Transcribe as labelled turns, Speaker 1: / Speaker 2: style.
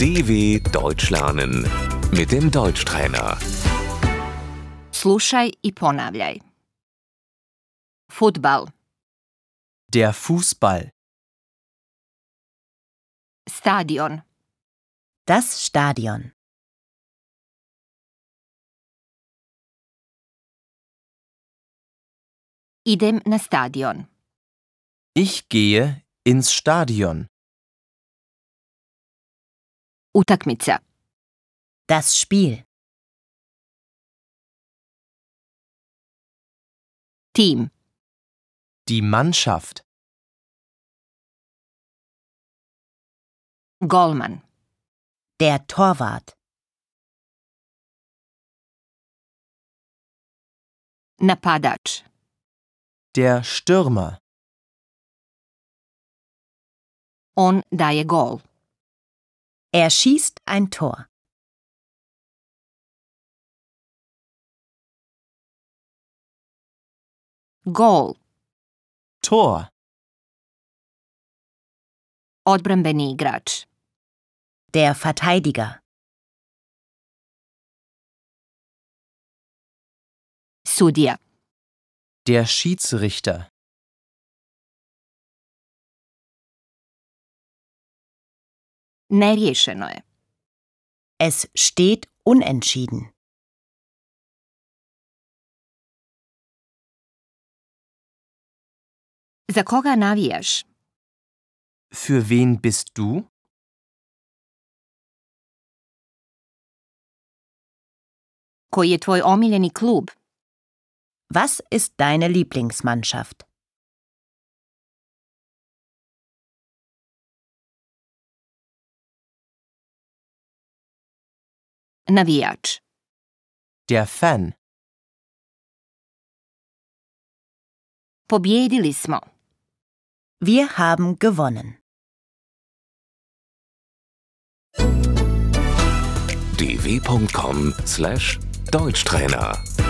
Speaker 1: DW Deutsch lernen mit dem Deutschtrainer.
Speaker 2: Slušaj i ponavljaj. Futbal,
Speaker 3: Der Fußball,
Speaker 2: stadion,
Speaker 4: Das Stadion.
Speaker 2: idem na stadion,
Speaker 3: ich gehe ins Stadion,
Speaker 2: utakmica,
Speaker 4: Das Spiel.
Speaker 2: tim,
Speaker 3: die Mannschaft,
Speaker 2: golman,
Speaker 4: Der Torwart.
Speaker 2: napadač,
Speaker 3: der Stürmer,
Speaker 2: on daje gol,
Speaker 4: Er schießt ein Tor.
Speaker 2: gol,
Speaker 3: Tor,
Speaker 2: odbrambeni igrač,
Speaker 4: Der Verteidiger.
Speaker 2: sudija,
Speaker 3: der Schiedsrichter,
Speaker 2: neriješeno Ne, je,
Speaker 4: Es steht unentschieden.
Speaker 2: za koga navijaš?
Speaker 3: Für wen bist du?
Speaker 2: Koji je tvoj omiljeni klub?
Speaker 4: Was ist deine Lieblingsmannschaft?
Speaker 2: Navijač,
Speaker 3: Der Fan,
Speaker 2: pobjedili smo,
Speaker 4: Wir haben gewonnen.
Speaker 1: dw.com/deutschtrainer